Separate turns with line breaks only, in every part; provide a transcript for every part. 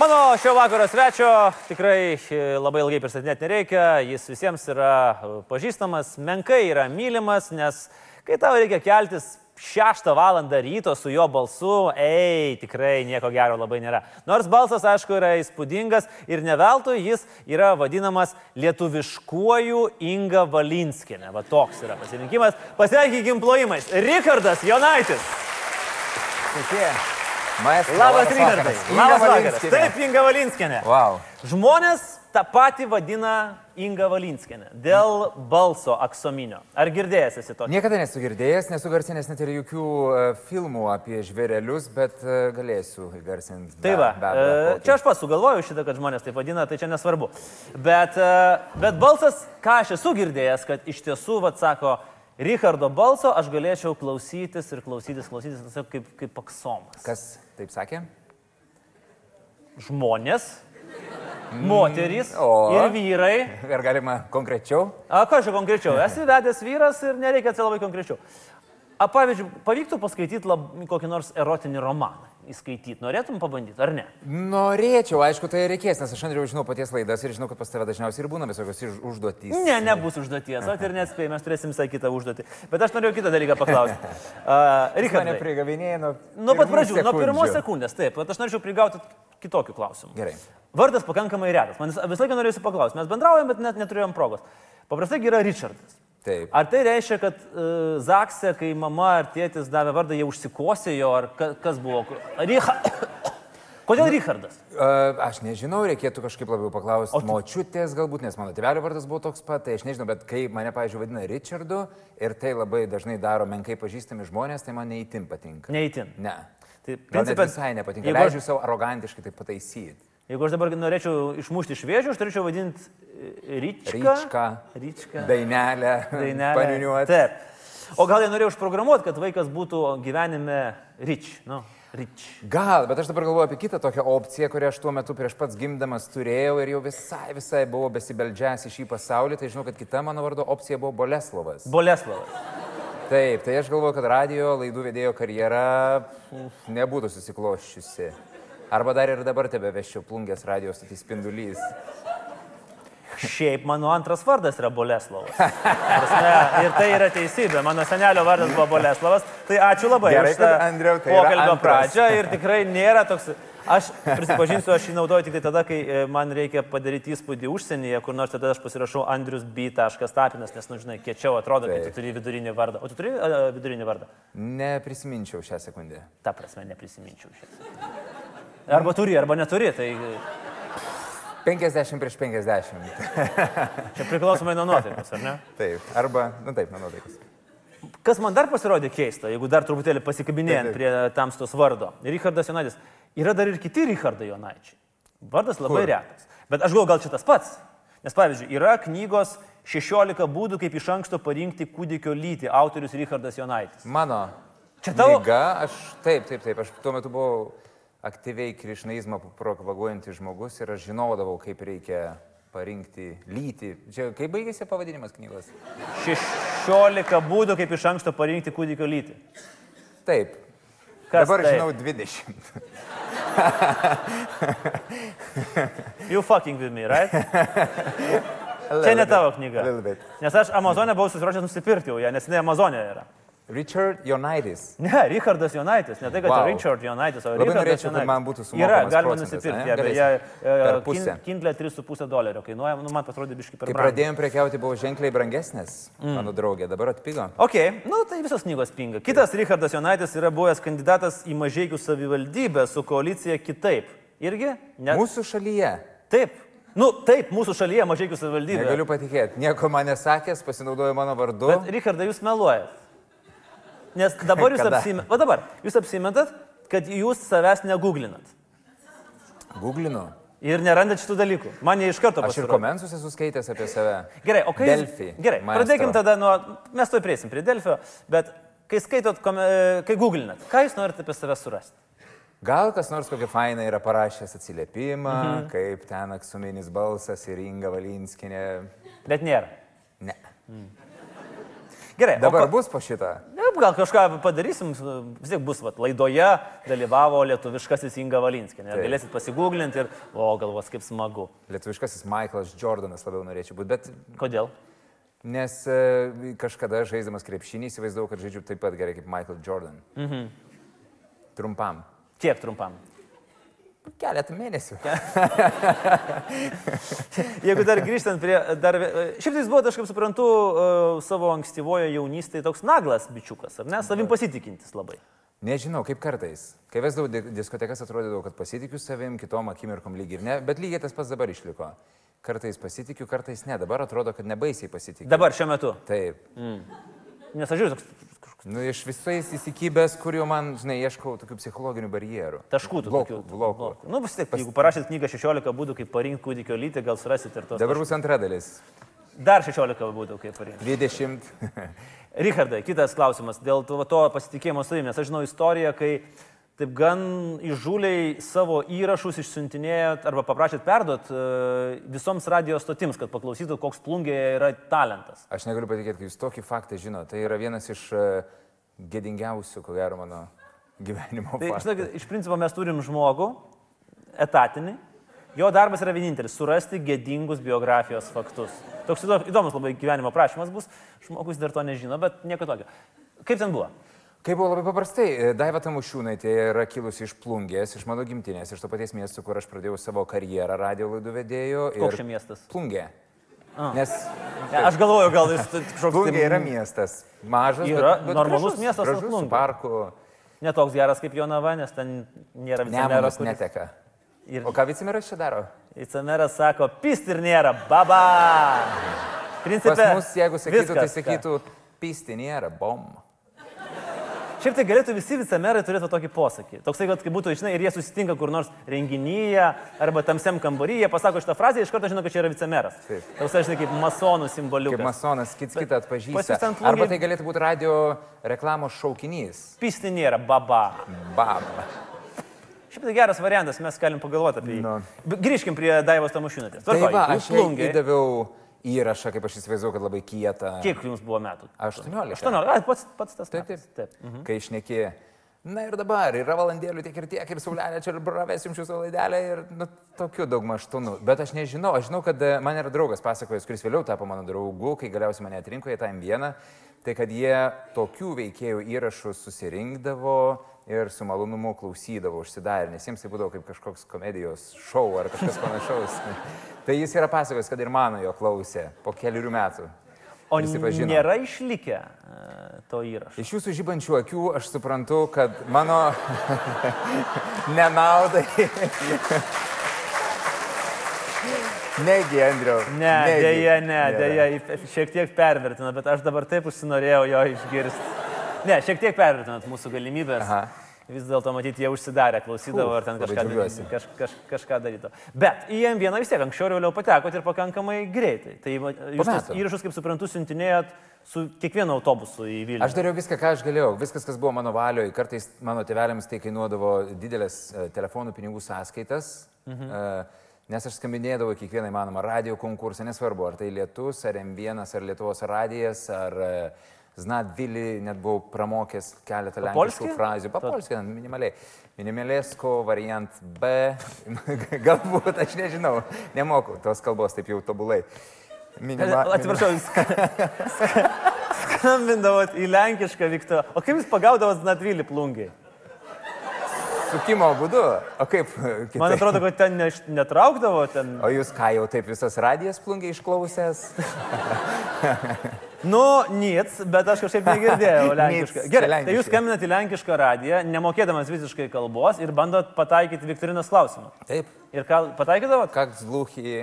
Mano šio vakaro svečio tikrai e, labai ilgai pristatinėti nereikia, jis visiems yra e, pažįstamas, menkai yra mylimas, nes kai tau reikia keltis 6 val. ryto su jo balsu, ei, tikrai nieko gero labai nėra. Nors balsas, aišku, yra įspūdingas ir ne veltui jis yra vadinamas lietuviškuoju Inga Valinskinė. Va toks yra pasirinkimas. Pasveikinkim plojimais. Rikardas Jonaitis.
Sveiki. Maestro.
Labas, Rikardai. Labas vakaras. Taip,
Taip.
Inga Valinskinė.
Wow.
Žmonės tą patį vadina Inga Valinskinė dėl balso aksominio. Ar girdėjęs esi to?
Niekada nesu girdėjęs, nesu garsinęs net ir jokių e, filmų apie žvėrelius, bet e, galėsiu garsinti.
Tai va, e, čia aš pats sugalvojau šitą, kad žmonės taip vadina, tai čia nesvarbu. Bet, e, bet balsas, ką aš esu girdėjęs, kad iš tiesų, vad sako, Richardo balso aš galėčiau klausytis ir klausytis, klausytis tiesiog kaip, kaip aksomas.
Kas taip sakė?
Žmonės, moterys
o.
ir vyrai.
Ar galima konkrečiau?
A, ką aš čia konkrečiau? Esi vedęs vyras ir nereikia čia labai konkrečiau. A, pavyzdžiui, pavyktų paskaityti lab, kokį nors erotinį romaną. Įskaityti norėtum pabandyti, ar ne?
Norėčiau, aišku, tai reikės, nes aš Andriu žinau paties laidas ir žinau, kad pas tave dažniausiai ir būna visokios iš- užduotys.
Ne, nebus užduoties. O, ir nespėjai, mes turėsim visai kitą užduotį. Bet aš norėjau kitą dalyką paklausti. Uh,
Mane
Richardai,
prigavinėjai nuo...
nuo pat
pirmų
pradžių, nuo pirmos
sekundžių.
sekundės, taip, bet aš norėčiau prigauti kitokių klausimų.
Gerai.
Vardas pakankamai retas. Man visą laiką norėjusi paklausti. Mes bendraujam, bet net neturėjom progos. Paprastai gi yra Richardas.
Taip.
Ar tai reiškia, kad uh, Zakse, kai mama ar tėtis davė vardą, jie užsikosėjo, ar ka, kas buvo? Richa... Kodėl Richardas?
A, Aš nežinau, reikėtų kažkaip labiau paklausti
tu-
močiutės galbūt, nes mano tėvelio vardas buvo toks pat, tai aš nežinau, bet kai mane, pavyzdžiui, vadina Richardu ir tai labai dažnai daro menkai pažįstami žmonės, tai man neįtim patinka.
Neįtin.
Ne.
Tai
Gal net
principe-
visai nepatinka.
jeigu
Jeigu...
aš-
Leidžiu savo arogantiškai tai pataisyti.
Jeigu aš dabar norėčiau išmušti iš vėžių, aš turėčiau vadinti e, Ričką.
Ryčka,
Ričką.
dainelę,
Dainelę.
paniuniuoti.
Taip. O gal jie norėjo užprogramuoti, kad vaikas būtų gyvenime Rič. Nu, Rič.
Gal, bet aš dabar galvoju apie kitą tokią opciją, kurią aš tuo metu prieš pats gimdamas turėjau ir jau visai, visai buvau besibeldžęs į šį pasaulį, tai žinau, kad kita mano vardo opcija buvo Boleslovas.
Boleslavas.
Taip, tai aš galvoju, kad radio laidų vedėjo karjera uf, nebūtų susikloščiusi. Arba dar ir dabar tebe veščiau plungęs radio stotys spindulys.
Šiaip mano antras vardas yra Boleslavas. Prasme, ir tai yra teisybė. Mano senelio vardas buvo Boleslavas. Tai ačiū labai
Gerai,
už tą
kad, Andriau, tai yra
pokalbio
antras.
pradžią. Ir tikrai nėra toks... Aš prisipažinsiu, aš jį naudoju tik tai tada, kai e, man reikia padaryti įspūdį užsienyje, kur nors tada aš pasirašau Andrius B.Tapinas, nes, nu, žinai, kiečiau atrodo, kai
Taip.
tu turi vidurinį vardą. O tu turi e, vidurinį vardą?
Neprisiminčiau šią sekundę.
Ta prasme, neprisiminčiau šis. Arba turi, arba neturi, tai
50 prieš 50.
čia priklausomai nuo nuotaikos, ar ne?
Taip. Arba, nu taip, mano laikas.
Kas man dar pasirodė keista, jeigu dar truputėlį pasikabinėjant
Taip, taip.
prie tamstos vardo. Richardas Jonaitis. Yra dar ir kiti Richardai Jonaičiai. Vardas labai
Kur?
retas. Bet aš galvoju, gal čia tas pats. Nes pavyzdžiui, yra knygos 16 būdų, kaip iš anksto parinkti kūdikio lytį. Autorius Richardas Jonaitis.
Mano.
Čia tavo-
Knyga, aš taip, taip, taip. Aš tuo metu buvau aktyviai krišnaizmą propaguojantis žmogus ir aš žinodavau, kaip reikia parinkti lytį. Čia kaip baigėsi pavadinimas knygos?
16 būdų, kaip iš anksto parinkti kūdikio lytį.
Taip.
Kas
Dabar
tai?
žinau 20.
You fucking with me, right? Čia ne tavo knyga.
Little bit.
Nes aš Amazonė buvau susiruošęs nusipirkti jau ją, nes ne Amazonė yra.
Richard Jonaitis.
Ne, Richardas Jonaitis, ne tai, kad
Wow.
wow. Richard Jonaitis, o
Labai
Richardas
norėčiau, kad
Jonaitis.
man būtų
Yra,
sumokamas
galima
procentas,
nusipirkti,
ane?
ja, beje,
Galėsim. Per
e, kin,
pusę.
Kindle 3,5 dolerio kainuoja, nu, man pasirodė biškai per
Kai
brangiai.
pradėjom prekiauti, buvo ženkliai brangesnės, mm. mano draugė, dabar atpigo.
Ok, nu tai visos knygos pinga. Kitas Richardas Jonaitis yra buvęs kandidatas į mažiekių savivaldybę su koalicija kitaip. Irgi? Ne.
Mūsų šalyje,
Taip. Nu, taip, mūsų šalyje mažiekių savivaldybė.
negaliu patikėti, nieko man nesakęs, pasinaudojo mano vardu.
Bet, Richardai, jūs meluojat. Nes dabar jūs,
Kada?
apsime... Va dabar, jūs apsimetat, kad jūs savęs neguglinat.
Googlinu.
Ir nerandat šitų dalykų. Man jie iš karto
Aš ir
pasirodė.
komentus esu skaitęs apie save.
Gerai, o kai... jūs-
Delfi,
Gerai,
maestro.
pradėkim tada nuo... Mes to įpriesim prie Delfio, bet kai skaitot, kom... e, kai googlinat, ką jūs norite apie save surasti?
Gal kas nors kokį fainą yra parašęs atsiliepimą, mhm. kaip ten aksuminis balsas ir Inga Valinskinė.
Bet nėra.
Ne.
Gerai,
Dabar
o...
bus po šitą.
Ne, Taip, gal kažką padarysim, vis tiek bus, vat, laidoje dalyvavo lietuviškasis Inga Valinskė.
Taip.
Galėsit pasigūglinti ir, o, galvos kaip smagu.
Lietuviškasis Michaelas Jordanas labiau norėčiau būti, bet
Kodėl?
nes e, kažkada žaiddamas krepšinį įsivaizdavau, kad žaidžiu taip pat gerai kaip Michael Jordan. Mhm. Trumpam.
Kiek trumpam?
Keletą mėnesių.
Jeigu dar grįžtant prie... Dar, vie- šiaip tai jis buvo, aš kaip suprantu, e, savo ankstyvojo jaunystėje toks naglas bičiukas, ar ne? Savim pasitikintis labai.
Nežinau, kaip kartais. Kai vesdavau di- diskotekas, atrodydavo, kad pasitikiu savim, kitom akimirkom lyg ir ne, bet lygiai tas pats dabar išliko. Kartais pasitikiu, kartais ne. Dabar atrodo, kad nebaisiai pasitikiu.
Dabar šiuo metu.
Taip.
Nes aš žiūriu, toks
Nu, iš visais įsikibęs, kur jau man, žinai, ieškau tokių psichologinių barjerų.
taškų tų
blokų. blokų.
blokų. Nu, vis tiek, jeigu parašyt knygą 16 būdų, kaip parinkti kūdikio lytį, gal surasit ir tos.
Dabar bus antra dalis.
Dar 16 būdų, kaip parinkti.
20.
Richardai, kitas klausimas dėl to, to pasitikėjimo savimi. Nes aš žinau istoriją, kai taip gan įžūliai savo įrašus išsiuntinėjot arba paprašėt perduot e, visoms radio stotims, kad paklausytų, koks plungėje yra talentas.
Aš negaliu patikėti, kad jūs tokį faktą žinote. Tai yra vienas iš e, gėdingiausių, ko gero, mano gyvenimo.
Tai,
faktų.
žinok, iš principo mes turim žmogų, etatinį, jo darbas yra vienintelis - surasti gėdingus biografijos faktus. Toks įdo- įdomus labai gyvenimo prašymas bus, žmogus dar to nežino, bet nieko tokio. Kaip ten buvo?
Kaip buvo labai paprastai, e, Daiva Tamušiūnaitė yra kilusi iš plungės, iš mano gimtinės, iš to paties miesto, kur aš pradėjau savo karjerą radio laidų vedėjo. ir-
Koks čia miestas?
Plungė. Nes
Ne, aš galvoju, gal jis t- kažkoks... tai-
Plungė yra miestas. Mažas,
Yra
bet, bet
normalus
gražus,
miestas,
gražus,
Plungė.
su parku.
Netoks geras kaip Jonava, nes ten nėra vicemero.
Nemunas
kuris-
neteka.
Ir
O ką vicemeras čia daro?
vicemeras sako, pist ir nėra, baba. Principė,
Pas mus, jeigu sakytų, tai
viskas, ką-
sakytų, pisti nėra, bom.
Šiaip tai galėtų visi vicemerai turėti tokį posakį. Toksai, kad kai būtų, žinai, ir jie susitinka kur nors renginyje arba tamsiam kambaryje, pasako šitą frazę, iš karto žino, kad čia yra vicemeras.
Taip.
Toks, žinai, kaip masonų simboliukas.
Kaip masonas, kits
Bet
kitą
pas jus ten
atpažįsta.
plungė-
Arba tai galėtų būti radio reklamos šaukinys.
Pist ir nėra, baba.
Bam.
Šiaip tai geras variantas, mes galim pagalvoti apie jį.
Nu.
Bet Grįžkim prie Daivos Tamušiūnatės.
Tai
Tvarkoj,
va,
jūs
aš jai
plungėj.
įdaviau įrašą, kaip aš įsivaizduoju, kad labai kietą.
Kiek jums buvo metų?
18.
18. Ai, pats, pats tas.
Taip, taip.
metas. taip. Mhm.
Kai išneki. Na ir dabar yra valandėlių tiek ir tiek, ir saulelė čia, ir bravės jums jūsų laidelė, ir nu, tokių daugmaž tonų. Bet aš nežinau, aš žinau, kad e, man yra draugas pasakojęs, kuris vėliau tapo mano draugu, kai galiausiai mane atrinko į tam vieną, tai kad jie tokių veikėjų įrašus susirinkdavo ir su malonumu klausydavo užsidarę, nes jiems tai būdavo kaip kažkoks komedijos šou ar kažkas panašaus. tai jis yra pasakojęs, kad ir mano jo klausė po keliurių metų.
O
Prisipažino.
nėra išlikę e, to įrašo.
Iš jūsų žibančių akių aš suprantu, kad mano nenaudai. Negi, Andriu.
Ne, dėja, ne, dėja, į- šiek tiek pervertino, bet aš dabar taip užsinorėjau jo išgirsti. Ne, šiek tiek pervertinot mūsų galimybės.
Aha.
Vis dėlto, matyt, jie užsidarė, klausydavo
Fu,
ar ten
labai
kažką,
džiaugiuosi.
kaž, kaž, kažką darytų. Bet į M1 vis tiek anksčiau ir vėliau patekot ir pakankamai greitai. Tai va, jūs tas
metų.
įrašus, kaip suprantu, siuntinėjot su kiekvienu autobusu į Vilnių.
Aš dariau viską, ką aš galėjau, viskas, kas buvo mano valioje. Kartais mano tėvelėms tai kainuodavo didelės e, telefonų pinigų sąskaitas, mhm. nes aš skambinėdavau į kiekvieną įmanomą radio konkursą, nesvarbu, ar tai Lietus, ar M1, ar Lietuvos radijas, ar e, Znadvili, net buvau pramokęs keletą lenkiškų
Polski?
frazių. Papolskį, minimaliai. Minimalėsko variant B. Galbūt, aš nežinau, nemoku tos kalbos taip jau tobulai. Minima,
Atsiprašau, jūs sk- skambindavot į lenkišką Viktorą. O kaip jūs pagaudavot Znatvilį plungiai?
Sukimo būdu. O kaip? Kitaip?
Man atrodo, kad ten ne, netraukdavo, ten...
O jūs ką jau taip visas radijas plungiai išklausęs?
Nu, nic, bet aš kažkaip negirdėjau lenkišką.
Nic,
Gerai,
lenkiškai.
tai jūs skambinat į lenkišką radiją, nemokėdamas visiškai kalbos ir bandot pataikyti Viktorinos klausimą.
Taip.
Ir ką, pataikydavot?
Kaks lūchį,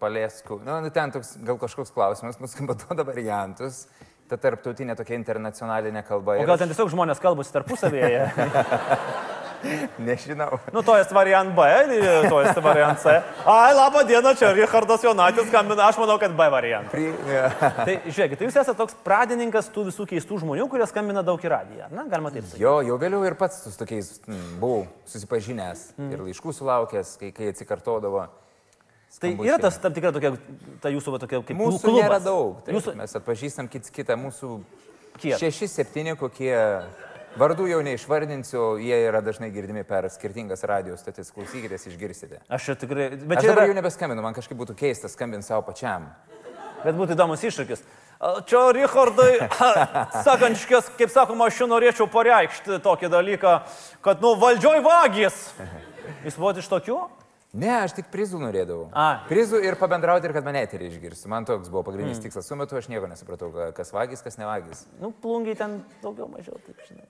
palėskų. Na, nu, ten toks gal kažkoks klausimas, nuskamba duoda variantus. Ta tarptautinė tokia internacionalinė kalba.
O
ir
gal
aš
ten tiesiog žmonės kalbasi tarpusavėje?
Nežinau.
Nu, to esi variant B, to esi variant C. Ai, laba diena, čia Richardas Jonatis skambina, aš manau, kad B variantas.
Pri...
Tai žiūrėkit, tai jūs esate toks pradininkas tų visų keistų žmonių, kurie skambina daug į radiją. Na, galima taip sakyti.
Jo, jau vėliau ir pats su tokiais mm, buvau susipažinęs
Mhm.
mm. ir laiškų sulaukęs, kai, kai atsikartodavo.
Tai
skambučiai.
yra tas tam tikra tokia, ta jūsų va, tokia kaip
Mūsų
klubas.
nėra daug. Taip,
Jūsų,
Mes atpažįstam kits kitą, mūsų
Kiek?
Šeši, septyni kokie. Vardų jau neišvardinsiu, jie yra dažnai girdimi per skirtingas radijos stotis. Klausykitės, išgirsite.
Aš čia tikrai. Bet,
Aš
čia
dabar
yra,
jau nebeskambinu, man kažkaip būtų keista skambinti savo pačiam.
bet būtų įdomus iššūkis. A, Čia Richardai, sakančias, kaip sakoma, aš jau norėčiau pareikšti tokį dalyką, kad, nu, valdžioj vagys. Jūs buvote iš tokių?
Ne, aš tik prizų norėdavau.
A.
Prizų ir pabendrauti ir kad mane eterį išgirstų. Man toks buvo pagrindinis mm. tikslas. Su metu aš nieko nesupratau, ka- kas vagys, kas nevagys.
Nu, plungiai ten daugiau mažiau, taip žinai.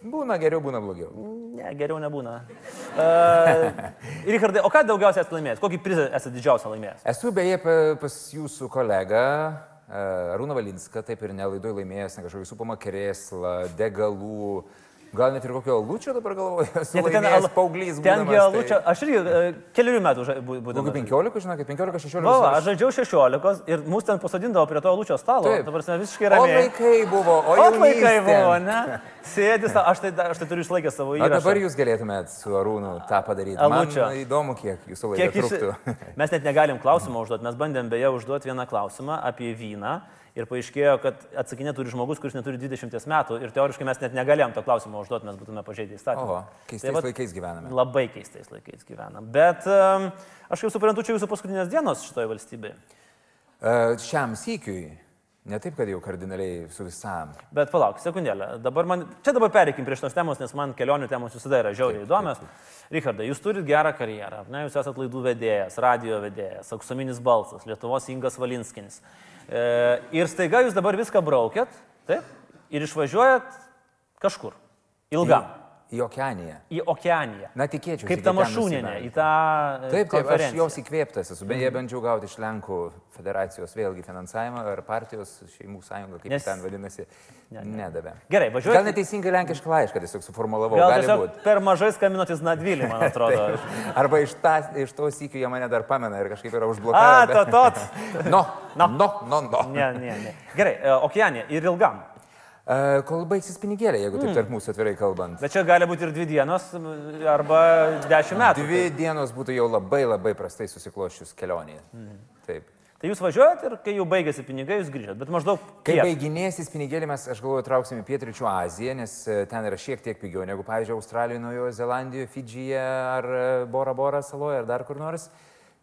Būna geriau, būna blogiau.
Ne, geriau nebūna. Uh, Richardai, o ką daugiausiai esate laimėjęs? Kokį prizą esate didžiausią laimėjęs?
Esu beje pa- pas jūsų kolegą e, Arūną Valinską, taip ir nelaidoj laimėjęs, ne kažkokį supamą krėslą, degalų. Gal net ir kokio lūčio dabar galvoju, esu
tai
laimėjęs
alu-
paauglys.
Ten
būdamas,
gi alučio, aš irgi uh, keliurių metų ža- bū-
Tai... Kokiu
būdamas.
15, žinokit, 15, 16.
Va, va, aš žaidžiau 16 ir mus ten pasodindavo prie to lūčio stalo.
Taip.
Dabar mes visiškai
O
ramiai.
vaikai buvo, o,
O vaikai
jaunystė.
buvo, ne? Sėdis, aš tai, aš tai turiu išlaikę savo
O
įrašą.
dabar jūs galėtumėt su Arūnu tą padaryti.
Alučio.
Alučio. Man įdomu, kiek jūsų laiko
Kiek jis...
truktų.
Mes net negalim klausimą užduoti. Mes bandėm beje užduoti vieną klausimą apie vyną ir paaiškėjo, kad atsakinė turi žmogus, kuris neturi 20 metų ir teoriškai mes net negalėjom to klausimo užduoti, mes būtume pažeidę įstatymą. Tai
Oho, keistais
vat-
laikais gyvename.
Labai keistais laikais gyvenam. Bet um, aš jau suprantu, čia jūsų paskutinės dienos šitoje valstybėje.
E, Šiam sykiui, ne taip, kad jau kardinaliai su visam.
Bet palauk, sekundėlę. Dabar man, čia dabar pereikim prie šios temos, nes man kelionių temos visada yra žiauriai įdomios. Richardai, jūs turite gerą karjerą, ne, jūs esate laidų vedėjas, radio vedėjas, auksuminis balsas, Lietuvos Ingas Valinskinis. E, ir staiga jūs dabar viską braukėt, taip, ir išvažiuojat kažkur, ilgam,
Į Okeaniją.
į, į Okeaniją.
Na, tikėčiau.
Kaip ta mašūninė, į tą... e,
Taip, taip, aš
konferenciją. Mhm.
jos įkvėptas esu. Beje, bandžiau gauti iš Lenkų federacijos vėlgi finansavimą ar partijos šeimų sąjungą, kaip
Nes-
Nes... ten vadinasi. Nedavė.
Gerai, važiuoju-
Gal neteisingai lenkišką laišką tiesiog suformulavau.
Gal
Gali
tiesiog
būt.
per mažai skaminotis Nadvilį, man atrodo.
Arba iš, ta, iš to sykių jie mane dar pamena ir kažkaip yra
A,
užblokavę.
to, tot.
No,
No.
no, no, no. no.
Ne, ne, ne. Gerai, e, Okeanija ir ilgam.
E, Kol baigsis pinigėlė, jeigu
Hmm.
taip tarp mūsų atvirai kalbant.
Bet čia gali būti ir dvi dienos, m, arba dešimt metų.
Dvi dienos būtų jau labai labai prastai susikloščius kelionėje. Taip.
Tai jūs važiuojat ir kai jau baigėsi pinigai, jūs grįžtat. Bet maždaug
Kai
kiek?
baiginėsis pinigėlį mes, aš galvoju, trauksim į Pietričių Aziją, nes e, ten yra šiek tiek pigiau negu, pavyzdžiui, Australijoje, Naujojo Zelandijoje, Fidžyje ar e, Bora Bora saloje ar dar kur nors.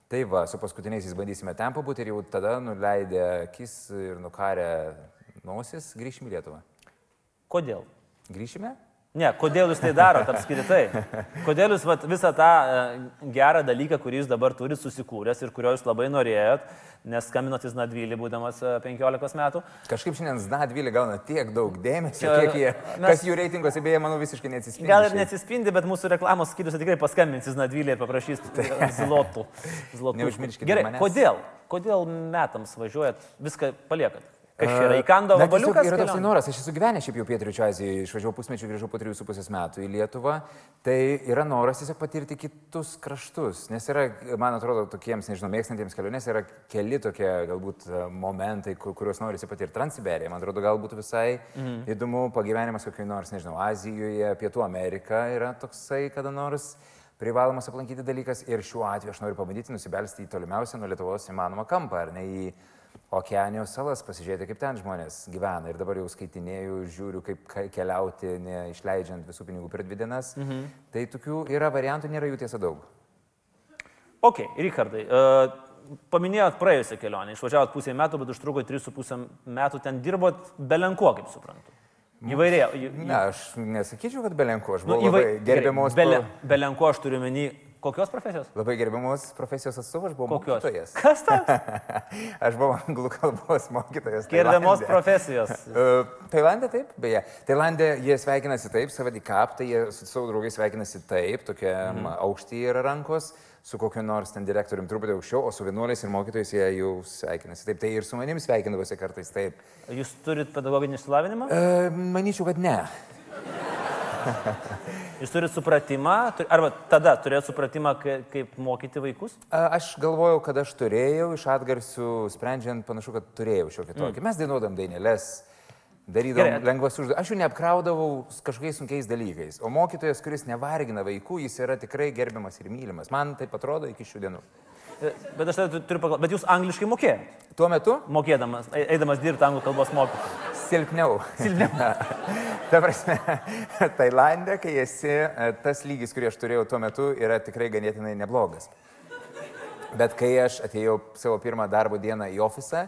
Tai va, su paskutiniais bandysime ten pabūti ir jau tada nuleidę akis ir nukarę nosis grįšim į Lietuvą.
Kodėl?
Grįšime?
Ne, kodėl jūs tai darote apskritai? Kodėl jūs vat, visą tą e, gerą dalyką, kurį jūs dabar turite susikūręs ir kurio jūs labai norėjot, nes skaminotis Nadvylį, būdamas e, 15 metų,
Kažkaip šiandien Zdadvilį gauna tiek daug dėmesio,
Čia-
kiek jie,
mes-
kas jų reitinguose, beje, manau, visiškai neatsispindi.
gal ir
šiaip.
neatsispindi, bet mūsų reklamos skyrius tikrai paskambins Nadvylį ir paprašys e, zlotų. zlotų.
Neužmirškite
Gerai,
manęs.
kodėl? Kodėl metams važiuojat, viską paliekat? Kažkaip yra įkando
E, Na, tiesiog
vabaliukas.
Yra nu- toks
kelionėj?
noras, aš esu gyvenęs šiaip jau Pietričio Azijoje, išvažiavau pusmečiu, grįžau po 3,5 metų į Lietuvą, tai yra noras tiesiog patirti kitus kraštus, nes yra, man atrodo, tokiems, nežinau, mėgstantiems kelionės yra keli tokie galbūt e, momentai, ku- kuriuos norisi patirti. Transiberija, man atrodo, galbūt visai
Mhm.
mm. įdomu pagyvenimas kokioj nors, nežinau, Azijoje, Pietų Amerika yra toksai kada nors. Privalomas aplankyti dalykas ir šiuo atveju aš noriu pabandyti nusibelsti į tolimiausią nuo Lietuvos įmanomą kampą, ar ne į Okeanijos salas, pasižiūrėti, kaip ten žmonės gyvena. Ir dabar jau skaitinėjau, žiūriu, kaip ka- keliauti, neišleidžiant visų pinigų per dvi dienas. Mhm. Tai tokių yra variantų, nėra jų tiesa daug.
Ok, Richardai, e, paminėjot praėjusią kelionę, išvažiavot pusę metų, bet užtruko 3,5 metų, ten dirbot belenkuo, kaip suprantu. Įvairiai. į- į-
Na, aš nesakyčiau, kad belenko, aš
Mhm. nu,
buvau
įvai-
labai gerbiamos,
gerai,
bele...
Bele, belenkuo aš turiu menį. Kokios profesijos?
labai gerbiamos profesijos atstovas, aš buvau
Kokios?
mokytojas.
Kas tas?
Aš buvau anglų kalbos mokytojas.
Gerbiamos
Tailande.
profesijos.
E, Tailandė taip, beje. Tailandė jie sveikinasi taip, savadikap, tai jie su savo draugais sveikinasi taip, tokia mm. aukštyje yra rankos, su kokiu nors ten direktoriumi truputį aukščiau, o su vienuoliais ir mokytojais jie jau sveikinasi taip. Tai ir su manim sveikindavosi kartais taip.
Jūs turit pedagoginį išsilavinimą,
E, manyčiau, kad ne.
jūs turit supratimą, tu- arba tada turėt supratimą, ka- kaip mokyti vaikus.
A, Aš galvojau, kad aš turėjau iš atgarsių, sprendžiant, panašu, kad turėjau šiokį tokį. Mm. Mes dainuodam dainelės, darydavom
Gerai.
lengvas užduotis. Aš jų neapkraudavau s- kažkokiais sunkiais dalykais. O mokytojas, kuris nevargina vaikų, jis yra tikrai gerbiamas ir mylimas. Man tai atrodo iki šių dienų.
E, Bet aš tada tu- turiu paklausti, bet jūs angliškai mokėjot,
Tuo metu
mokėdamas, e- eidamas dirbti anglų kalbos mokytoju.
silpniau.
Silpniau.
Ta prasme, Tailandė, kai esi, e, tas lygis, kurį aš turėjau tuo metu, yra tikrai ganėtinai neblogas. Bet kai aš atėjau savo pirmą darbo dieną į ofisą.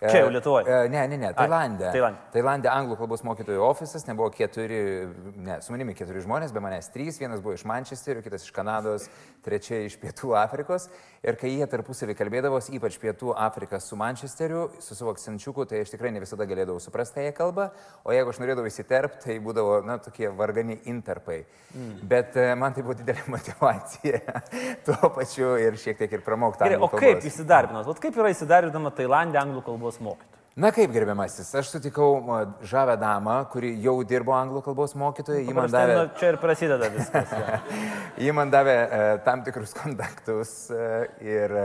e,
Čia jau Lietuvoj?
e, Ne, ne, ne, Tailandė.
Tailande.
Tailandė anglų kalbos mokytojų ofisas, nebuvo keturi, ne, su manimi keturi žmonės, be manęs trys, vienas buvo iš Mančesterio, kitas iš Kanados, trečia iš Pietų Afrikos. Ir kai jie tarpusavį kalbėdavos, ypač Pietų Afrika su Mančesteriu, su savo akcenčiuku, tai aš tikrai ne visada galėdavau suprasti tą jie kalbą, o jeigu aš norėdavau įsiterpti, tai būdavo, na, tokie vargani interpai. Mm. Bet e, man tai buvo didelė motivacija tuo pačiu ir šiek tiek ir pramokta.
Gerai, o kaip įsidarbinot? Vat kaip yra įsidarbinama Tailandė anglų kalbos mokytoju?
Na kaip gerbiamasis, aš sutikau a, žavę damą, kuri jau dirbo anglų kalbos mokytoja, ji man davė,
nu, Čia ir prasideda viskas. jo.
ji man davė e, tam tikrus kontaktus e, ir e,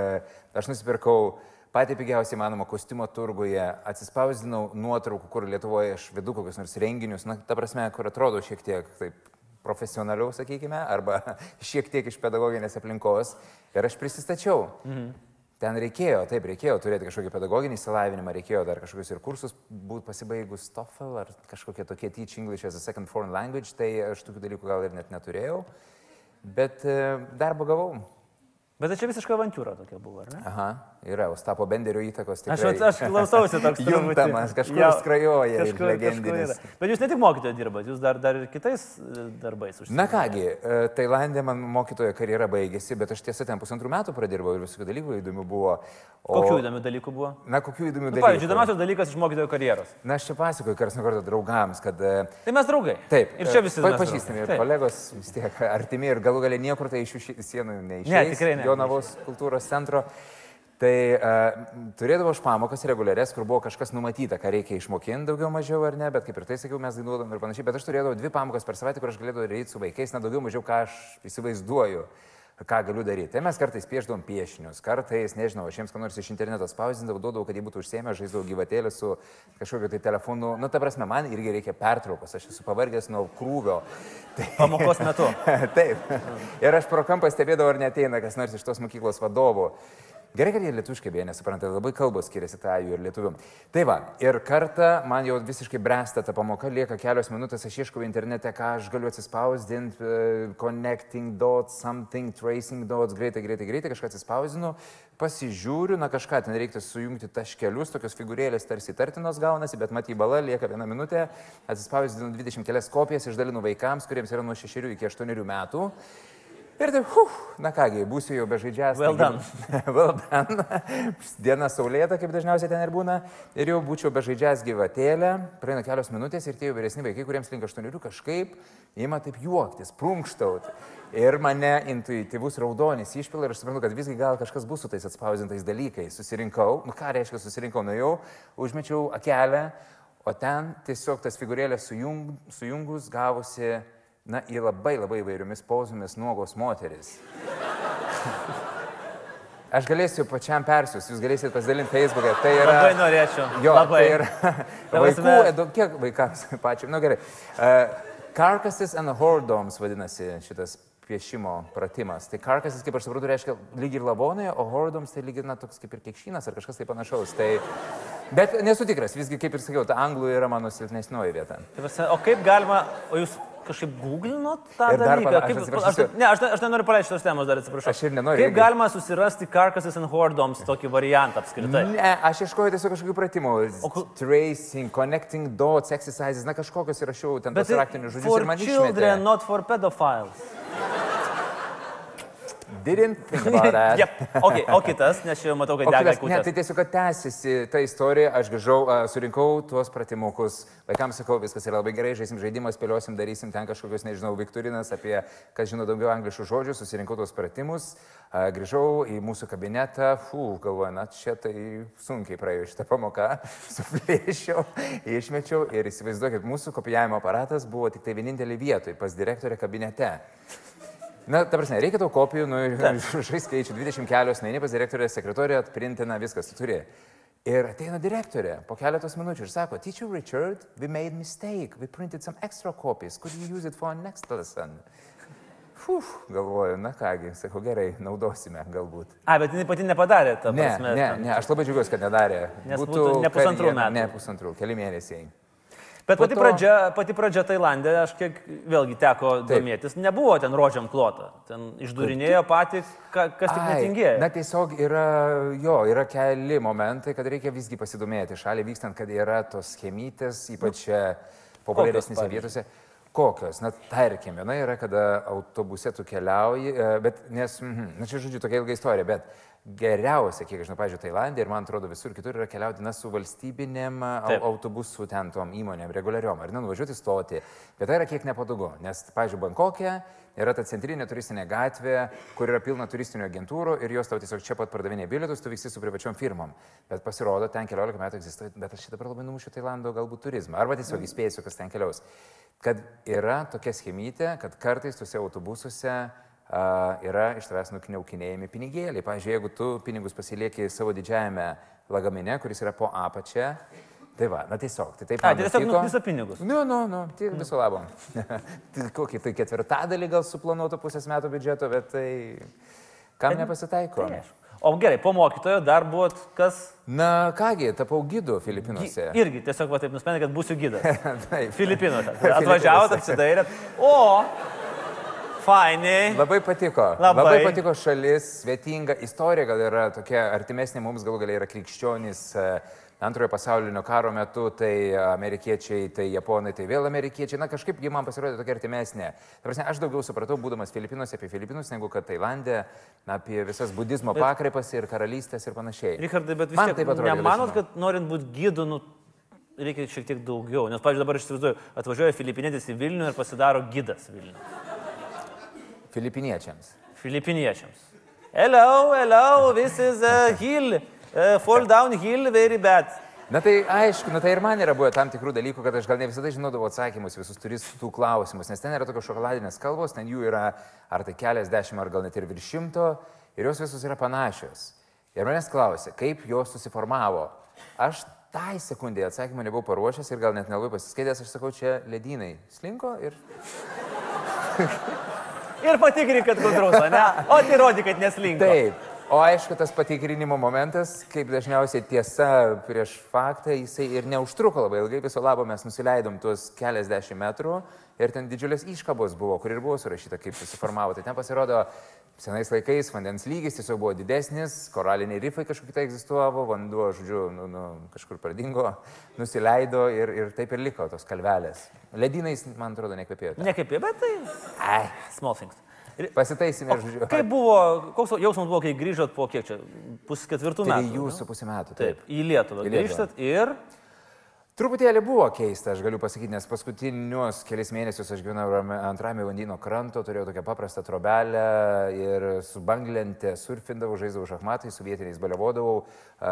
aš nusipirkau patį pigiausią įmanomą kostiumo turguje, atsispausdinau nuotraukų, kur Lietuvoje aš vedu kokius nors renginius, na, ta prasme, kur atrodo šiek tiek taip profesionaliau, sakykime, arba šiek tiek iš pedagoginės aplinkos ir aš prisistačiau. Mhm. Ten reikėjo, taip, reikėjo turėti kažkokį pedagoginį įsilavinimą, reikėjo dar kažkokius ir kursus būti pasibaigus TOEFL ar kažkokie tokie Teach English as a Second Foreign Language, tai aš tokių dalykų gal ir net neturėjau, bet e, darbą gavau.
Bet tai čia visiška avantūra tokia buvo, ar ne?
Aha, yra, Ostapo Benderio
Aš,
įtakos tikrai.
vat- aš klausausi toks truputį.
Juntamas, kažkur
Jo,
skrajoja ir
kažkur- kažkur
legendinis.
yra. Bet jūs ne tik mokytojo dirbat, jūs dar, dar ir kitais e, darbais užsiimate.
Na kągi, e, Tailandė man mokytojo karjera baigėsi, bet aš tiesą ten pusantrų metų pradirbau ir visokių dalykų įdomių buvo. O-
Kokių įdomių dalykų buvo? Nu,
Na, kokių įdomių dalykų.
Pavyzdžiui, įdomiausias dalykas iš mokytojo karjeros.
Na, aš čia pasakoju karts nuo karto draugams, kad e,
Tai mes draugai.
Taip. e,
Ir čia visi.
Pa,
mes
pažįstami
draugai.
ir kolegos, vis tiek artimi ir galų galę niekur tai iš jų ši- sienų neišėjo.
Ne, tikrai ne.
Jonavos kultūros centro. Tai uh, turėdavo aš pamokas reguliarės, kur buvo kažkas numatyta, ką reikia išmokinti daugiau mažiau ar ne, bet kaip ir tai sakiau, mes dainuodavom ir panašiai, bet aš turėdavau dvi pamokas per savaitę, kur aš galėdavau daryti su vaikais, na daugiau mažiau, ką aš įsivaizduoju, ką galiu daryti. Tai mes kartais piešdavom piešinius, kartais, nežinau, aš jiems ką nors iš interneto spausdindavau, duodavau, kad jie būtų užsiemę, žaisdavau gyvatėlį su kažkokiu tai telefonu, na ta prasme, man irgi reikia pertraukos, aš esu pavargęs nuo krūvio. Tai
Pamokos metu.
Taip. Ir aš pro kampą stebėdavau, ar neteina kas nors iš tos mokyklos vadovų. Gerai, kad jie lietuškai beje nesupranta, labai kalbos skiriasi tą jų ir lietuvių. Tai va, ir kartą man jau visiškai bręsta ta pamoka, lieka kelios minutės, aš ieškau internete, ką aš galiu atsispausdinti, e, connecting dots, something, tracing dots, greitai, greitai, greitai kažką atsispausdinu, pasižiūriu, na kažką ten reiktų sujungti taškelius, tokios figūrėlės tarsi tartinos gaunasi, bet matai bala, lieka viena minutė, atsispausdinu 20 kelias kopijas, išdalinu vaikams, kuriems yra nuo 6 iki 8 metų. Ir taip, huh, na kągi, būsiu jau bežaidžias.
Well done.
well done. Diena saulėta, kaip dažniausiai ten ir būna. Ir jau būčiau bežaidžias gyvatėlę, praeina kelios minutės ir tie jau vyresni vaikai, kuriems link aštuoniurių kažkaip ima taip juoktis, prunkštauti. Ir mane intuityvus raudonis išpila ir aš suprantu, kad visgi gal kažkas bus su tais atspausdintais dalykais. Susirinkau, nu ką reiškia susirinkau, nuėjau, užmečiau akelę, o ten tiesiog tas figūrėlės sujung, sujungus gavosi, na, į labai labai įvairiomis pozomis nuogos moteris. Aš galėsiu pačiam persius, jūs galėsite pasidalinti Facebook'e. Tai yra...
Labai norėčiau.
Jo,
labai.
tai yra
Ta
vaikų,
prasme-
edu, kiek vaikams pačiam, na nu, gerai. Uh, Carcasses and hordoms vadinasi šitas piešimo pratimas. Tai carcasses, kaip aš suprantu, reiškia lyg ir lavonai, o hordoms tai lyg ir, na, toks kaip ir kiekšynas ar kažkas tai panašaus. Tai... Bet nesu tikras, visgi, kaip ir sakiau, ta anglų yra mano silpnesnioji vieta.
Tai prasme, o kaip galima, o jūs kažkaip googlinot tą
Ir dar
dalyką?
pana- aš
kaip,
atsiprašysiu.
ne, aš, ne- aš nenoriu paleisti šios temos, dar atsiprašau.
Aš ir nenoriu
Kaip
irgi.
galima susirasti Carcasses and Hordoms tokį variantą apskritai?
Ne, aš ieškojau tiesiog kažkokių pratimų.
O ku-
Tracing, connecting dots, exercises, na kažkokius įrašiau ten tos
tai
raktinius žodžius
for
ir man
children,
išmetė.
not for pedophiles.
Didn't think about that.
Jep. Okay, o kitas, nes čia jau matau, kad
O
dega
kitas- ne,
kūnas.
tai tiesiog kad tęsiasi ta istorija, aš grįžau, a, surinkau tuos pratimukus, vaikams sakau, viskas yra labai gerai, žaisim žaidimą, spėliosim, darysim ten kažkokius, nežinau, viktorinas apie, kas žino daugiau angliškų žodžių, susirinkau tuos pratimus, a, grįžau į mūsų kabinetą, fū, galvoju, na čia tai sunkiai praėjo šitą pamoką, suplėšiau, išmečiau ir įsivaizduokit, mūsų kopijavimo aparatas buvo tik tai vienintelį vietoj, pas direktorę kabinete. Na, ta prasme, reikia tau kopijų, nu, žai skaičių, 20 kelios, neini pas direktorę, sekretorė atprintina, viskas, tu turi. Ir ateina direktorė po keletos minučių ir sako, Teacher Richard, we made mistake, we printed some extra copies, could you use it for our next lesson? Fuf, galvoju, na kągi, sakau, gerai, naudosime galbūt.
A, bet jinai pati nepadarė, ta
Ne,
prasme.
ne,
ten.
ne, aš labai džiaugiuosi, kad nedarė.
Nes būtų ne
karjera-
pusantrų metų.
Ne pusantrų, keli mėnesiai.
Bet
Po
pati,
to-
pradžia, pati pradžia Tailandė, aš kiek vėlgi teko domėtis, nebuvo ten rožiam klota. Ten išdurinėjo patys, ka, kas tik
Ai,
netingėjo.
Na tiesiog yra, jo, yra keli momentai, kad reikia visgi pasidomėti šalį vykstant, kad yra tos chemytės, ypač čia
Nu,
populiaresnėse
pavyzdžiui?
vietose. Kokios? Na, tarkim, viena yra, kada autobuse tu keliauji, e, bet, nes, mhm, na čia, žodžiu, tokia ilga istorija, bet geriausia, kiek aš žinau, pažiūrėjau, Tailandė ir man atrodo visur kitur yra keliauti, na, su valstybinėm au-
Taip.
autobusų ten tom įmonėm, reguliariom, ar ne, nuvažiuoti stoti. Bet tai yra kiek nepatogu, nes, pavyzdžiui, Bankokė yra ta centrinė turistinė gatvė, kur yra pilna turistinių agentūrų ir jos tau tiesiog čia pat pardavinėja bilietus, tu visi su privačiom firmom. Bet pasirodo, ten 14 metų egzistuoja, bet aš čia dabar labai numušiu Tailando galbūt turizmą, arba tiesiog įspėsiu, kas ten keliaus. Kad yra tokia schemytė, kad kartais tuose autobusuose a, yra iš tavęs nukniaukinėjami pinigėliai. Pavyzdžiui, jeigu tu pinigus pasilieki savo didžiajame lagamine, kuris yra po apačia, tai va, na tiesiog, tai taip
A,
man
tai tiesiog
nutiko.
nukniso pinigus.
Nu, nu, nu, tiek viso labo. Tai Kokį tai ketvirtadalį gal suplanuoto pusės metų biudžeto, bet tai kam nepasitaiko.
Tai aišku. O gerai, po mokytojo dar buvot kas.
Na kągi, tapau gidu
Gi-
Filipinuose.
Irgi tiesiog va, taip nusprendė, kad būsiu gydas.
Taip.
Filipinuose. Atvažiavot, apsidairėt. O, fainiai.
Labai patiko.
Labai.
Labai patiko šalis, svetinga istorija, gal yra tokia artimesnė mums, gal gal yra krikščionys. e, Antrojo pasaulinio karo metu tai amerikiečiai, tai japonai, tai vėl amerikiečiai. Na kažkaip ji man pasirodė tokia artimesnė. Ta prasme, aš daugiau supratau, būdamas Filipinuose apie Filipinus, negu kad Tailandė, na, apie visas budizmo pakraipas ir karalystės ir panašiai.
Richardai, bet vis
Man
tiek,
taip atrodė, kad aš
nemanot,
žinau.
kad norint būti gydu, nu, reikia šiek tiek daugiau. Nes, pavyzdžiui, dabar aš įsivaizduoju, atvažiuoja filipinėtis į Vilnių ir pasidaro gydas Vilnių.
Filipiniečiams.
Filipiniečiams. Hello, hello, this is a hill. Uh, fall down hill, very bad.
Na tai aišku, na tai ir man yra buvę tam tikrų dalykų, kad aš gal ne visada žinodavau atsakymus į visus turistų klausimus, nes ten yra tokios šokoladinės kalbos, ten jų yra ar tai keliasdešimt, ar gal net ir virš šimto, ir jos visos yra panašios. Ir manęs klausė, kaip jos susiformavo. Aš tai sekundėje atsakymą nebuvau paruošęs ir gal net nelabai pasiskaitęs, aš sakau, čia ledynai slinko ir
Ir patikrink, kad gudrus, ar ne? O tai rodi, kad neslinko.
Taip. O aišku, tas patikrinimo momentas, kaip dažniausiai tiesa prieš faktą, jisai ir neužtruko labai ilgai, viso labo mes nusileidom tuos keliasdešimt metrų ir ten didžiulės iškabos buvo, kur ir buvo surašyta, kaip susiformavo. Tai ten pasirodo, senais laikais vandens lygis tiesiog buvo didesnis, koraliniai rifai kažkokie tai egzistavo, vanduo, žodžiu, nu, nu, kažkur pradingo, nusileido ir, ir taip ir liko tos kalvelės. Ledynais, man atrodo, nekvepėjo.
Ne kaip jie, bet tai
Ai,
small things. uh, Ir
pasitaisime, žodžiu.
kaip buvo, koks jausmas buvo, kai grįžot po kiek čia? Pusketvirtų metų.
Trijų
ne?
su pusė metų. Taip.
Taip, į Lietuvą.
Į Lietuvą.
Grįžtat ir...
Truputėlį buvo keista, aš galiu pasakyti, nes paskutinius kelias mėnesius aš gyvenau rami- ant ramio vandyno kranto, turėjau tokią paprastą trobelę ir su banglente surfindavau, žaisdavau šachmatai, su vietiniais baliavodavau, a,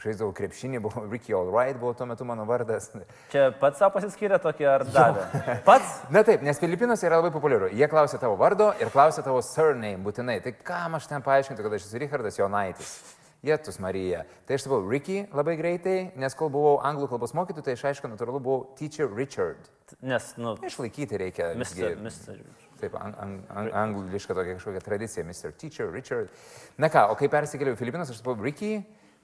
žaisdavau krepšinį, buvau Ricky Allright, buvo tuo metu mano vardas.
Čia pats savo pasiskyrė tokį ar davė? Pats?
Na taip, nes Filipinuose yra labai populiaru. Jie klausia tavo vardo ir klausia tavo surname būtinai. Tai kam aš ten paaiškinti, kad aš esu Richardas Jonaitis? Jėtus Marija. Tai aš tapau Ricky labai greitai, nes kol buvau anglų kalbos mokytoju, tai aš aišku, natūralu buvau Teacher Richard.
Nes, nu,
Išlaikyti reikia.
mister,
visgi-
mister.
Taip, ang, ang, ang, angliška tokia kažkokia tradicija, Mr. Teacher, Richard. Na ką, o kai persikėliau į Filipinus, aš tapau Ricky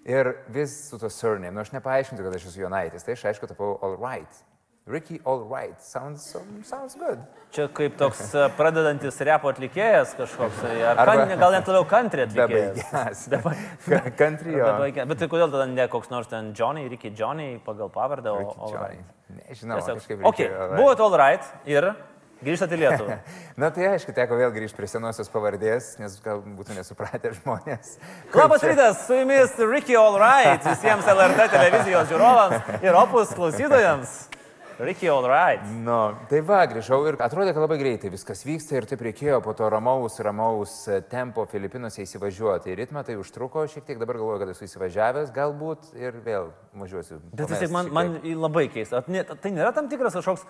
ir vis su to surname. Nu, aš nepaaiškinsiu, kad aš esu Jonaitis, tai aš aišku tapau All Right. Ricky All Right. Sounds, so- sounds good.
Čia kaip toks e, pradedantis repo atlikėjas kažkoks. tai Ar
Arba-
kan, gal net labiau country atlikėjas.
Bebaigęs.
Dabar-
Country. jo.
Dabar- Bet tai kodėl tada ne koks nors ten Johnny, Ricky Johnny pagal pavardę, o...
Ricky Johnny. Nežinau,
Tiesiog.
kažkaip.
Ok,
Ricky All Right.
buvot all right ir grįžtate į Lietuvą.
Na tai aišku, teko vėl grįžti prie senosios pavardės, nes gal būtų nesupratę žmonės. kaip
Labas
čia-
rytas, su jumis Ricky All Right, visiems LRT televizijos žiūrovams ir opus klausytojams. Ricky All Right.
Nu, tai va, grįžau ir atrodė, kad labai greitai viskas vyksta ir taip reikėjo po to ramaus, ramaus e, tempo Filipinuose įsivažiuoti. Į ritmą tai užtruko šiek tiek, dabar galvoju, kad esu įsivažiavęs galbūt ir vėl važiuosiu.
Bet vis
pamest
tiek man,
šiek
man
tiek.
labai keista. At, ne, tai nėra tam tikras kažkoks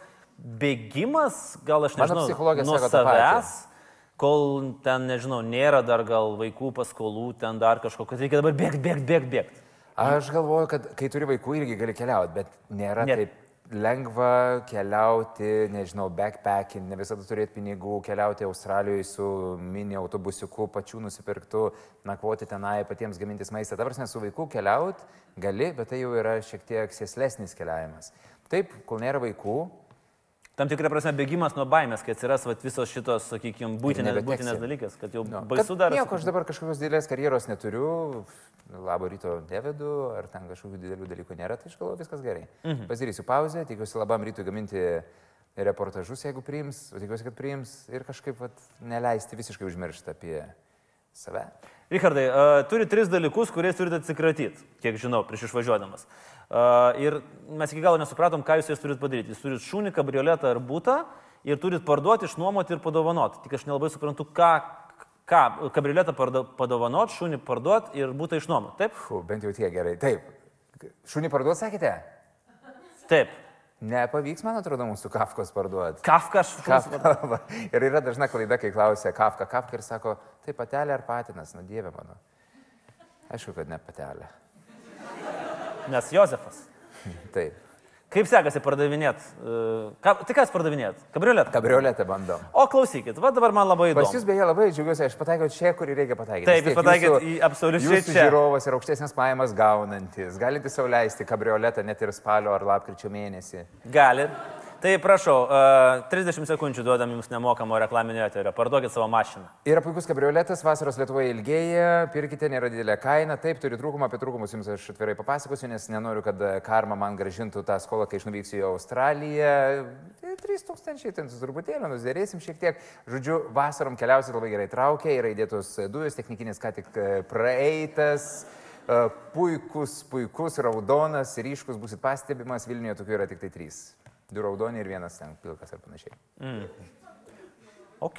bėgimas, gal aš
Mano
nežinau,
psichologė
nuo
sako tą
savęs, kol ten, nežinau, nėra dar gal vaikų paskolų, ten dar kažko, kad reikia dabar bėgti, bėgti, bėgti, bėgti.
Aš galvoju, kad kai turi vaikų irgi gali keliauti, bet
Ne.
nėra ne. taip lengva keliauti, nežinau, backpacking, ne visada turėti pinigų, keliauti Australijoje su mini autobusiuku, pačių nusipirktų, nakvoti tenai, patiems gamintis maistą. Dabar nesu vaikų keliauti, gali, bet tai jau yra šiek tiek sėslesnis keliavimas. Taip, kol nėra vaikų,
Tam tikra prasme bėgimas nuo baimės, kai atsiras vat, visos šitos, sakykime, būtinės,
nebeteksi. Nu.
būtinės dalykas, kad jau no.
Kad
baisu dar.
Nieko, aš dabar kažkokios didelės karjeros neturiu, labo ryto nevedu, ar ten kažkokių didelių dalykų nėra, tai aš galvoju, viskas gerai. Mhm. Pasidarysiu pauzę, tikiuosi labam rytui gaminti reportažus, jeigu priims, o tikiuosi, kad priims ir kažkaip vat, neleisti visiškai užmiršti apie save.
Richardai, uh, turi tris dalykus, kuriais turite atsikratyti, kiek žinau, prieš išvažiuodamas. Uh, ir mes iki galo nesupratom, ką jūs jais turit padaryti. Jūs turit šunį, kabrioletą ar būtą ir turit parduoti, išnuomoti ir padovanoti. Tik aš nelabai suprantu, ką, ką kabrioletą parda- padovanot, šunį parduoti ir būtą išnuomoti. Taip?
Puh, bent jau tie gerai. Taip. Šunį parduot, sakėte?
Taip.
Nepavyks, man atrodo, mūsų kafkos parduot.
Kafka aš šunį.
Kafka. va. ir yra dažna klaida, kai klausia kafka, kafka ir sako, tai patelė ar patinas, nu dieve mano. Aišku, kad ne patelė.
Nes Jozefas.
Taip.
Kaip sekasi pardavinėt? Uh, ka, tai kas pardavinėt? Kabrioletą.
Kabrioletę bandom.
O klausykit, va dabar man labai
Pas
įdomu.
jūs beje labai džiugiuosi, aš pataikiau čia, kur reikia pataikyti.
Taip, jūs
Vis tiek
pataikėt
jūsų-
į absoliučiai
jūsų
čia.
Žiūrovas ir aukštesnės pajamas gaunantis. Galite sauliaisti kabrioletą net ir spalio ar lapkričio mėnesį.
Gali. Tai prašau, uh, 30 sekundžių duodam jums nemokamo reklaminio eterio. Parduokit savo mašiną.
Yra puikus kabrioletas, vasaros Lietuvoje ilgėja, pirkite, nėra didelė kaina, taip turi trūkumą, apie trūkumus jums aš atvirai papasakosiu, nes nenoriu, kad e, karma man gražintų tą skolą, kai išnuvyksiu į Australiją. 3000, ten su truputėlį, nusdėrėsim šiek tiek. Žodžiu, vasarom keliausit labai gerai traukia, yra įdėtos e, dujos, technikinis ką tik e, praeitas. e, Puikus, puikus, raudonas, ryškus, busit pastebimas, Vilniuje tokių yra tik tai trys. Du raudoni ir vienas ten pilkas ar panašiai.
Ok.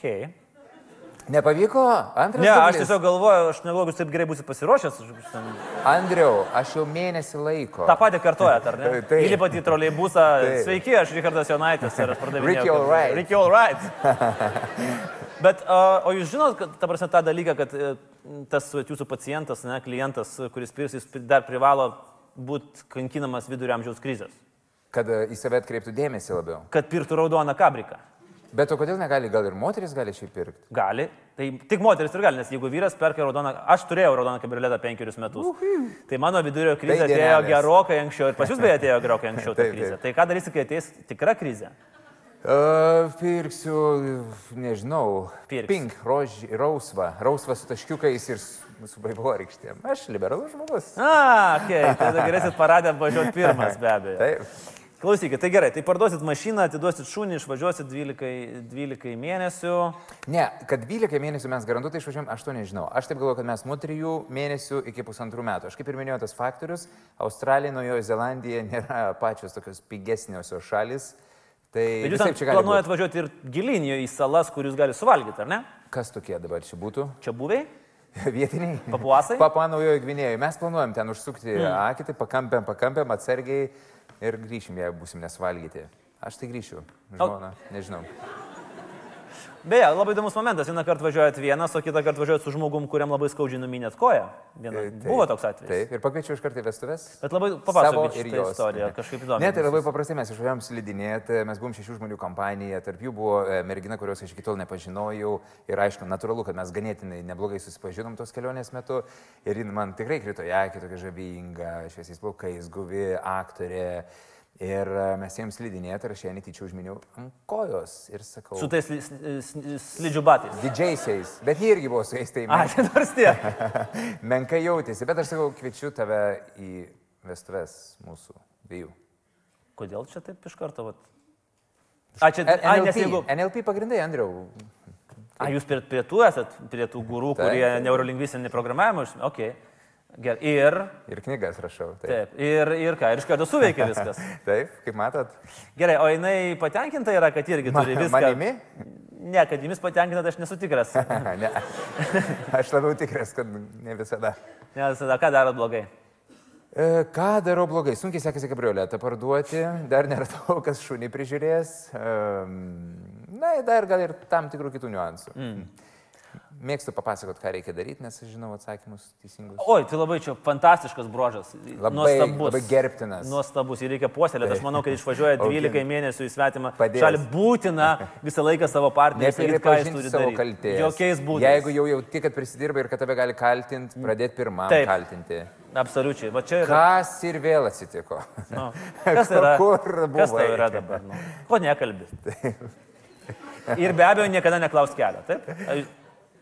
Nepavyko? Antras.
Ne, aš
dublis?
tiesiog galvoju, aš negalvoju, jūs taip gerai būsit pasiruošęs. aš- aš ten-
Andriau, aš jau mėnesį laiko.
Ta pati kartuojat, ar ne?
Taip.
Įlipat į troliai būsą.
Taip.
Sveiki, aš Richardas Jonaitis ir aš pardavinėju.
Tai. Ricky alright.
Ricky Alright. Bet uh, o jūs žinot, kad, ta prasme, tą dalyką, kad e, tas vat jūsų pacientas, ne, klientas, e, kuris pirks, jis pri- dar privalo būti kankinamas vidurio amžiaus krizės.
Kad e, į save atkreiptų dėmesį labiau.
Kad pirktų raudoną kabriką.
Bet o kodėl negali, gal ir moteris gali šiaip pirkti?
Gali. Tai tik moteris ir gali, nes jegu vyras perka raudoną, aš turėjau raudoną kabrioletą penkerius metus. Tai mano vidurio krizė
Tai
tai atėjo
dienelės.
gerokai anksčiau ir pas jūs beje atėjo gerokai anksčiau ta
Taip,
krizė.
taip.
Tai ką darysi, kai ateis tikra krizė?
Uh, pirksiu, nežinau,
Pirks.
pink, rož, rausva, rausva su taškiukais ir su, su baivorykštėm. Aš liberalus žmogus.
A, okay, tai tada galėsit paradę važiuoti pirmas be abejo.
Taip.
Klausykit, tai gerai, tai parduosit mašiną, atiduosit šunį, išvažiuosit 12, 12 mėnesių.
Ne, kad 12 mėnesių mes garantuotai išvažiuojam, aš to nežinau. Aš taip galvoju, kad mes nuo 3 mėnesių iki pusantrų metų. Aš kaip ir minėjau, tas faktorius, Australija, Naujoji Zelandija nėra pačios tokios pigesniosios šalis. Tai
Bet jūs
visaip
ten
čia gali
planuojat važiuoti ir gilinio į salas, kur jūs galite suvalgyti, ar ne?
būt. Kas tokie dabar čia būtų?
Čia buvai?
Vietiniai.
Papuasai? Hmm.
Papua Naujojo Gvinėjoje. Mes planuojam ten užsukti mm. akį, tai pakampiam, pakampiam atsargiai ir grįšim, jei būsim nesvalgyti. Aš tai grįšiu. Žmona, nežinau.
Beje, labai įdomus momentas. Vieną kartą važiuojat vienas, o kitą kartą važiuojat su žmogum, kuriam labai skaudžiai numinėt koją. Viena...
E, taip.
Buvo toks atvejis.
Taip, ir pakviečiau iš karto į vestuves.
Bet labai
Savo
papasakokit
ir
šitą
jos.
istoriją, kažkaip įdomu.
Ne, tai labai paprastai mes išvažiavom slidinėti, mes buvom šešių žmonių kompanija, tarp jų buvo e, mergina, kurios aš iki tol nepažinojau ir aišku, natūralu, kad mes ganėtinai neblogai susipažinom tos kelionės metu ir jin man tikrai krito į akį, tokia žavinga, šviesiais plaukais, guvi, aktorė. Ir e, mes jiems slidinėti ir aš ją netyčia užminiau ant kojos ir sakau.
Su tais sli- sli- sli- slidžių batais.
Didžiaisiais, bet jie irgi buvo su jais, tai
A,
men...
tai nors tiek.
menkai jautėsi, bet aš sakau, kviečiu tave į vestuves mūsų dviejų.
Kodėl čia taip iš karto? Vat? A, čia,
N-
a, nes
NLP,
jeigu...
NLP pagrindai, Andriau.
A, jūs prie, prie tų esat, prie tų gurų,
Taip,
kurie
taip.
neurolingvistinį programavimą, užsiima? okei. Okay. Ir,
Ir knygas rašau. Taip.
taip, ir, ir ką, ir iš karto suveikia viskas.
Taip, kaip matot.
Gerai, o jinai patenkinta yra, kad irgi
Ma-
turi viską.
manimi?
Ne, kad jumis patenkinta, tai aš nesu tikras.
ne. Aš labiau tikras, kad ne visada.
Nes tada ką daro blogai?
E, Ką darau blogai? Sunkiai sekasi kabrioletą parduoti, dar nėra to, kas šunį prižiūrės. Em, Na, ir dar gal ir tam tikrų kitų niuansų. Mm. Mėgstu papasakot, ką reikia daryti, nes aš žinau atsakymus teisingus.
Oi, tai labai čia fantastiškas brožas.
Labai-
Nuostabus.
labai gerbtinas.
Nuostabus. Jį reikia puoselėti. Aš manau, kad išvažiuoja 12 mėnesių į svetimą
Padės.
šalį. Būtina visą laiką savo partneriui sakyt, ką jis
Nepripažinti
turi
savo
daryti.
kaltės.
Jokiais būdais.
Jeigu jau jauti, kad prisidirba ir kad tave gali kaltinti, pradėti pirmam
Taip.
kaltinti.
Absoliučiai. Va čia yra.
Kas ir vėl atsitiko?
Nu, kas yra?
Kur
kas tau
buvai?
yra dabar? Nu, ko nekalbi? Ir be abejo, niekada neklaus kelio. Taip?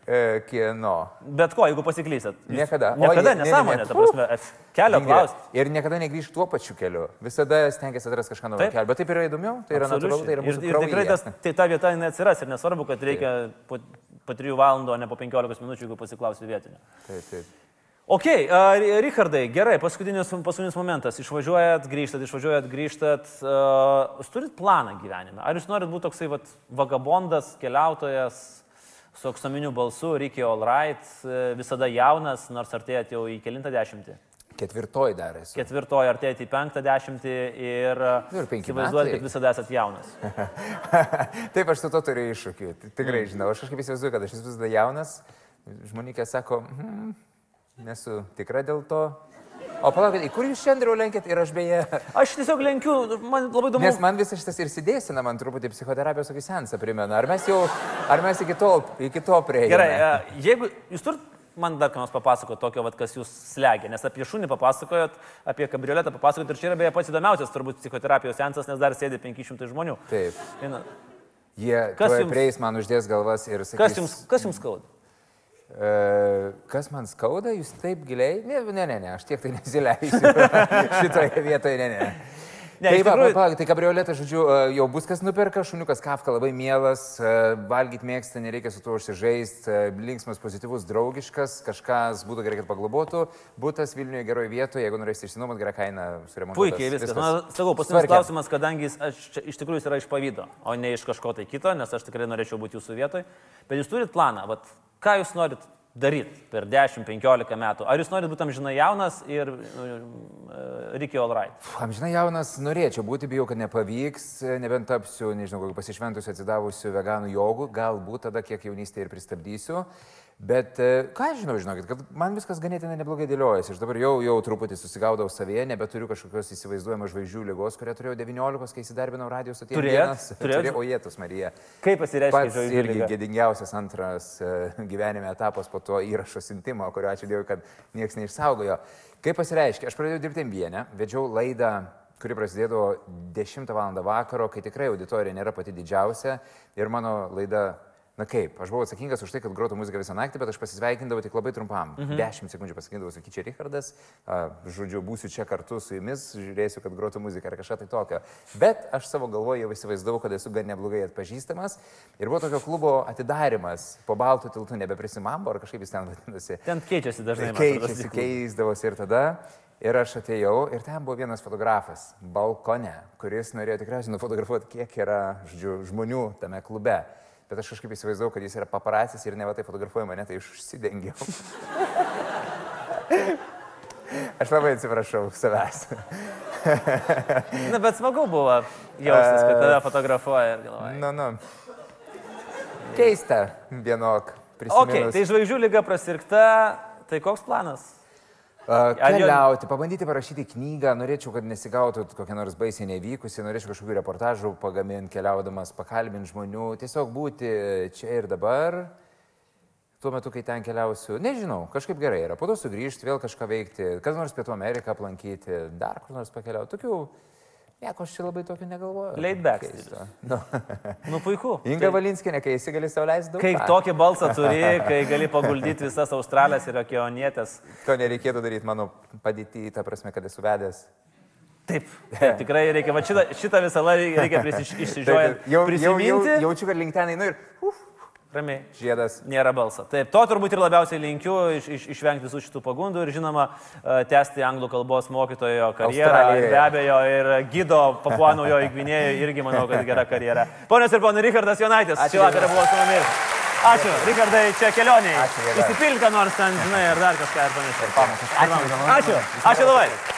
E, Kieno?
Bet ko, jeigu pasiklysat? Jūs-
Niekada. O,
Niekada,
ne- ne- ne-
nesąmonė,
ne.
ta
Tai
prasme. ef, Kelio
Ingrida.
klaus.
Ir niekada negryžti tuo pačiu keliu. Visada stengiasi atrasti kažką naujo
Taip.
kelio. Bet taip yra įdomiau, tai yra natūralu, tai yra
Absoliučiai.
mūsų
ir, ir tikrai tas,
kraujyje.
tai ta vieta jinai atsiras ir nesvarbu, kad reikia po, po 3 valandų, o ne po 15 minučių, jeigu pasiklausiu vietinio.
Taip, taip.
Ok, a, Ri- Richardai, gerai, paskutinis, paskutinis momentas. Išvažiuojat, grįžtat, išvažiuojat, grįžtat. Uh, jūs turit planą gyvenime? Ar jūs norit būti toksai vat, vagabondas, keliautojas su aksominiu balsu, Ricky Allright, e, visada jaunas, nors artėjat jau į kelintą dešimtį?
Ketvirtoji dar esu.
Ketvirtoji artėjat į penktą dešimtį ir
Nu ir penki
įsivaizduojat,
metai.
kad visada esat jaunas.
Taip, aš su to turiu iššūkių. Ti- Tikrai
Mm.
žinau. Aš kažkaip įsivaizduoju, kad aš esu visada jaunas. Žmonėkė sako, hmm, nesu tikra dėl to. O palaukit, į kur jūs šiandien lenkėt ir aš beje,
Aš tiesiog lenkiu, man labai įdomu.
nes man visas šitas ir sidėsina, man truputį psichoterapijos tokį sensą primena. Ar mes jau, ar mes iki to, iki to prieėjome?
Gerai, e, jeigu jūs turit man dar ką nors papasakoti tokio, vat, kas jūs slegia, nes apie šunį papasakojot, apie kabrioletą papasakojot ir čia yra beje pats įdomiausias turbūt psichoterapijos sensas, nes dar sėdi 500 žmonių.
Taip.
Viena-
tai Jie
Kas
tuoj
jums-
prieis, man uždės galvas ir sakys.
Kas jums, kas jums skauda?
E, kas man skauda, jūs taip giliai? Ne, ne, ne, ne aš tiek tai nesileisiu šitoje vietoje, ne, ne.
Ne,
Ne, tai,
iš
va,
tikrųjų-
tikrųjų... va, tai kabrioletas, žodžiu, e, jau bus kas nuperka, šuniukas kafka labai mielas, valgyti mėgsta, nereikia su tuo užsižaisti, linksmas, pozityvus, draugiškas, kažkas būtų gerai, kad paglobotų, būtas Vilniuje geroje vietoje, jeigu norėsite išsinuomoti, gerą kainą suremontuoti.
Puikiai, viskas. Na, sakau, paskutinis klausimas, kadangi jis- aš čia iš tikrųjų jis yra iš pavydo, o ne iš kažko tai kito, nes aš tikrai norėčiau būti jūsų vietoje. Bet jūs turit planą, vat, ką jūs norit daryti per 10-15 metų? Ar jūs norit būti amžinai jaunas ir uh, Ricky Allright?
Amžinai jaunas norėčiau būti, bijau, kad nepavyks, e, nebent tapsiu, nežinau, kokiu pasišventusiu, atsidavusiu veganų jogų, galbūt tada kiek jaunystėje ir pristabdysiu. Bet e, ką aš žinau, žinokit, kad man viskas ganėtinai neblogai dėliojasi. Aš dabar jau, jau truputį susigaudau savyje, nebeturiu kažkokios įsivaizduojamos žvaigždžių lygos, kurią turėjau 19, kai įsidarbinau radijos atėjimą.
Turėjot? Turėjot?
Turėjau, o jėtus, Marija.
Kaip pasireiškia
Pats
žodžiu
irgi
lyga?
gėdingiausias antras e, gyvenime etapas po to įrašo sintimo, kurio ačiū Dievui, kad niekas neišsaugojo. Kaip pasireiškia, aš pradėjau dirbti vienę, vedžiau laidą, kuri prasidėdavo 10 val. vakaro, kai tikrai auditorija nėra pati didžiausia ir mano laida, na kaip, aš buvau atsakingas už tai, kad grotų muziką visą naktį, bet aš pasisveikindavau tik labai trumpam. 10 sekundžių pasakydavau, sakyk čia Richardas, a, žodžiu, būsiu čia kartu su jumis, žiūrėsiu, kad grotų muziką ar kažką tai tokio. Bet aš savo galvoje jau įsivaizdavau, kad esu gan neblogai atpažįstamas. Ir buvo tokio klubo atidarimas po baltų tiltų, nebeprisimambo, ar kažkaip jis ten vadinasi.
Ten keičiasi dažnai. man atrodo,
Keičiasi,
stiklai.
keisdavosi ir tada. Ir aš atėjau ir ten buvo vienas fotografas balkone, kuris norėjo tikriausiai nufotografuoti, kiek yra žodžiu, žmonių tame klube. Bet aš kažkaip įsivaizdavau, kad jis yra paparacis ir ne va tai fotografuoja mane, tai aš užsidengiau. aš labai atsiprašau savęs.
Na, bet smagu buvo jaustis, kad tave fotografuoja ir galvoja.
Na, na. Nu, Keista vienok.
Ok,
prisiminus.
tai žvaigždžių lyga prasirkta, tai koks planas?
A,
ar jo-
Keliauti, pabandyti parašyti knygą, norėčiau, kad nesigautų kokia nors baisiai nevykusi, norėčiau kažkokių reportažų pagaminti keliaudamas, pakalbinti žmonių, tiesiog būti čia ir dabar, tuo metu, kai ten keliausiu, nežinau, kažkaip gerai yra, po to sugrįžti, vėl kažką veikti, kas nors Pietų Ameriką aplankyti, dar kur nors pakeliauti, tokių, nieko aš čia labai tokių negalvoju.
Laid back
Keisto. Nu.
Nu, puiku.
Inga Valinskinė, kai esi gali sauliaisti daug.
Kai
ką.
tokį balsą turi, kai gali paguldyti visas australės ir okeanietės.
To nereikėtų daryti mano padėtį, ta prasme, kad esu vedęs.
Taip, taip, tikrai reikia. Va šitą, šitą visą laiką reikia prisiž- išsižiojant.
Taip, jau, jau, jau,
prisiminti.
jaučiu, kad link ten einu ir uf,
Ramiai.
žiedas.
Nėra balsą. Taip, to turbūt ir labiausiai linkiu iš, iš, išvengti visų šitų pagundų ir žinoma, e, tęsti anglų kalbos mokytojo karjerą. Ir
Australijoje.
be abejo, ir gydo papuanojo įgvinėjo irgi manau, kad gera karjera. Ponios ir ponai, Richardas Jonaitis,
Ačiū,
šį vakarą buvo su mumis. Ačiū, Richardai, čia kelioniai.
Ačiū, Richardai.
Įsipilka nors ten, žinai, ar dar kažką ir panašiai.
pamokas. Ačiū,
Ačiū, ačiū labai.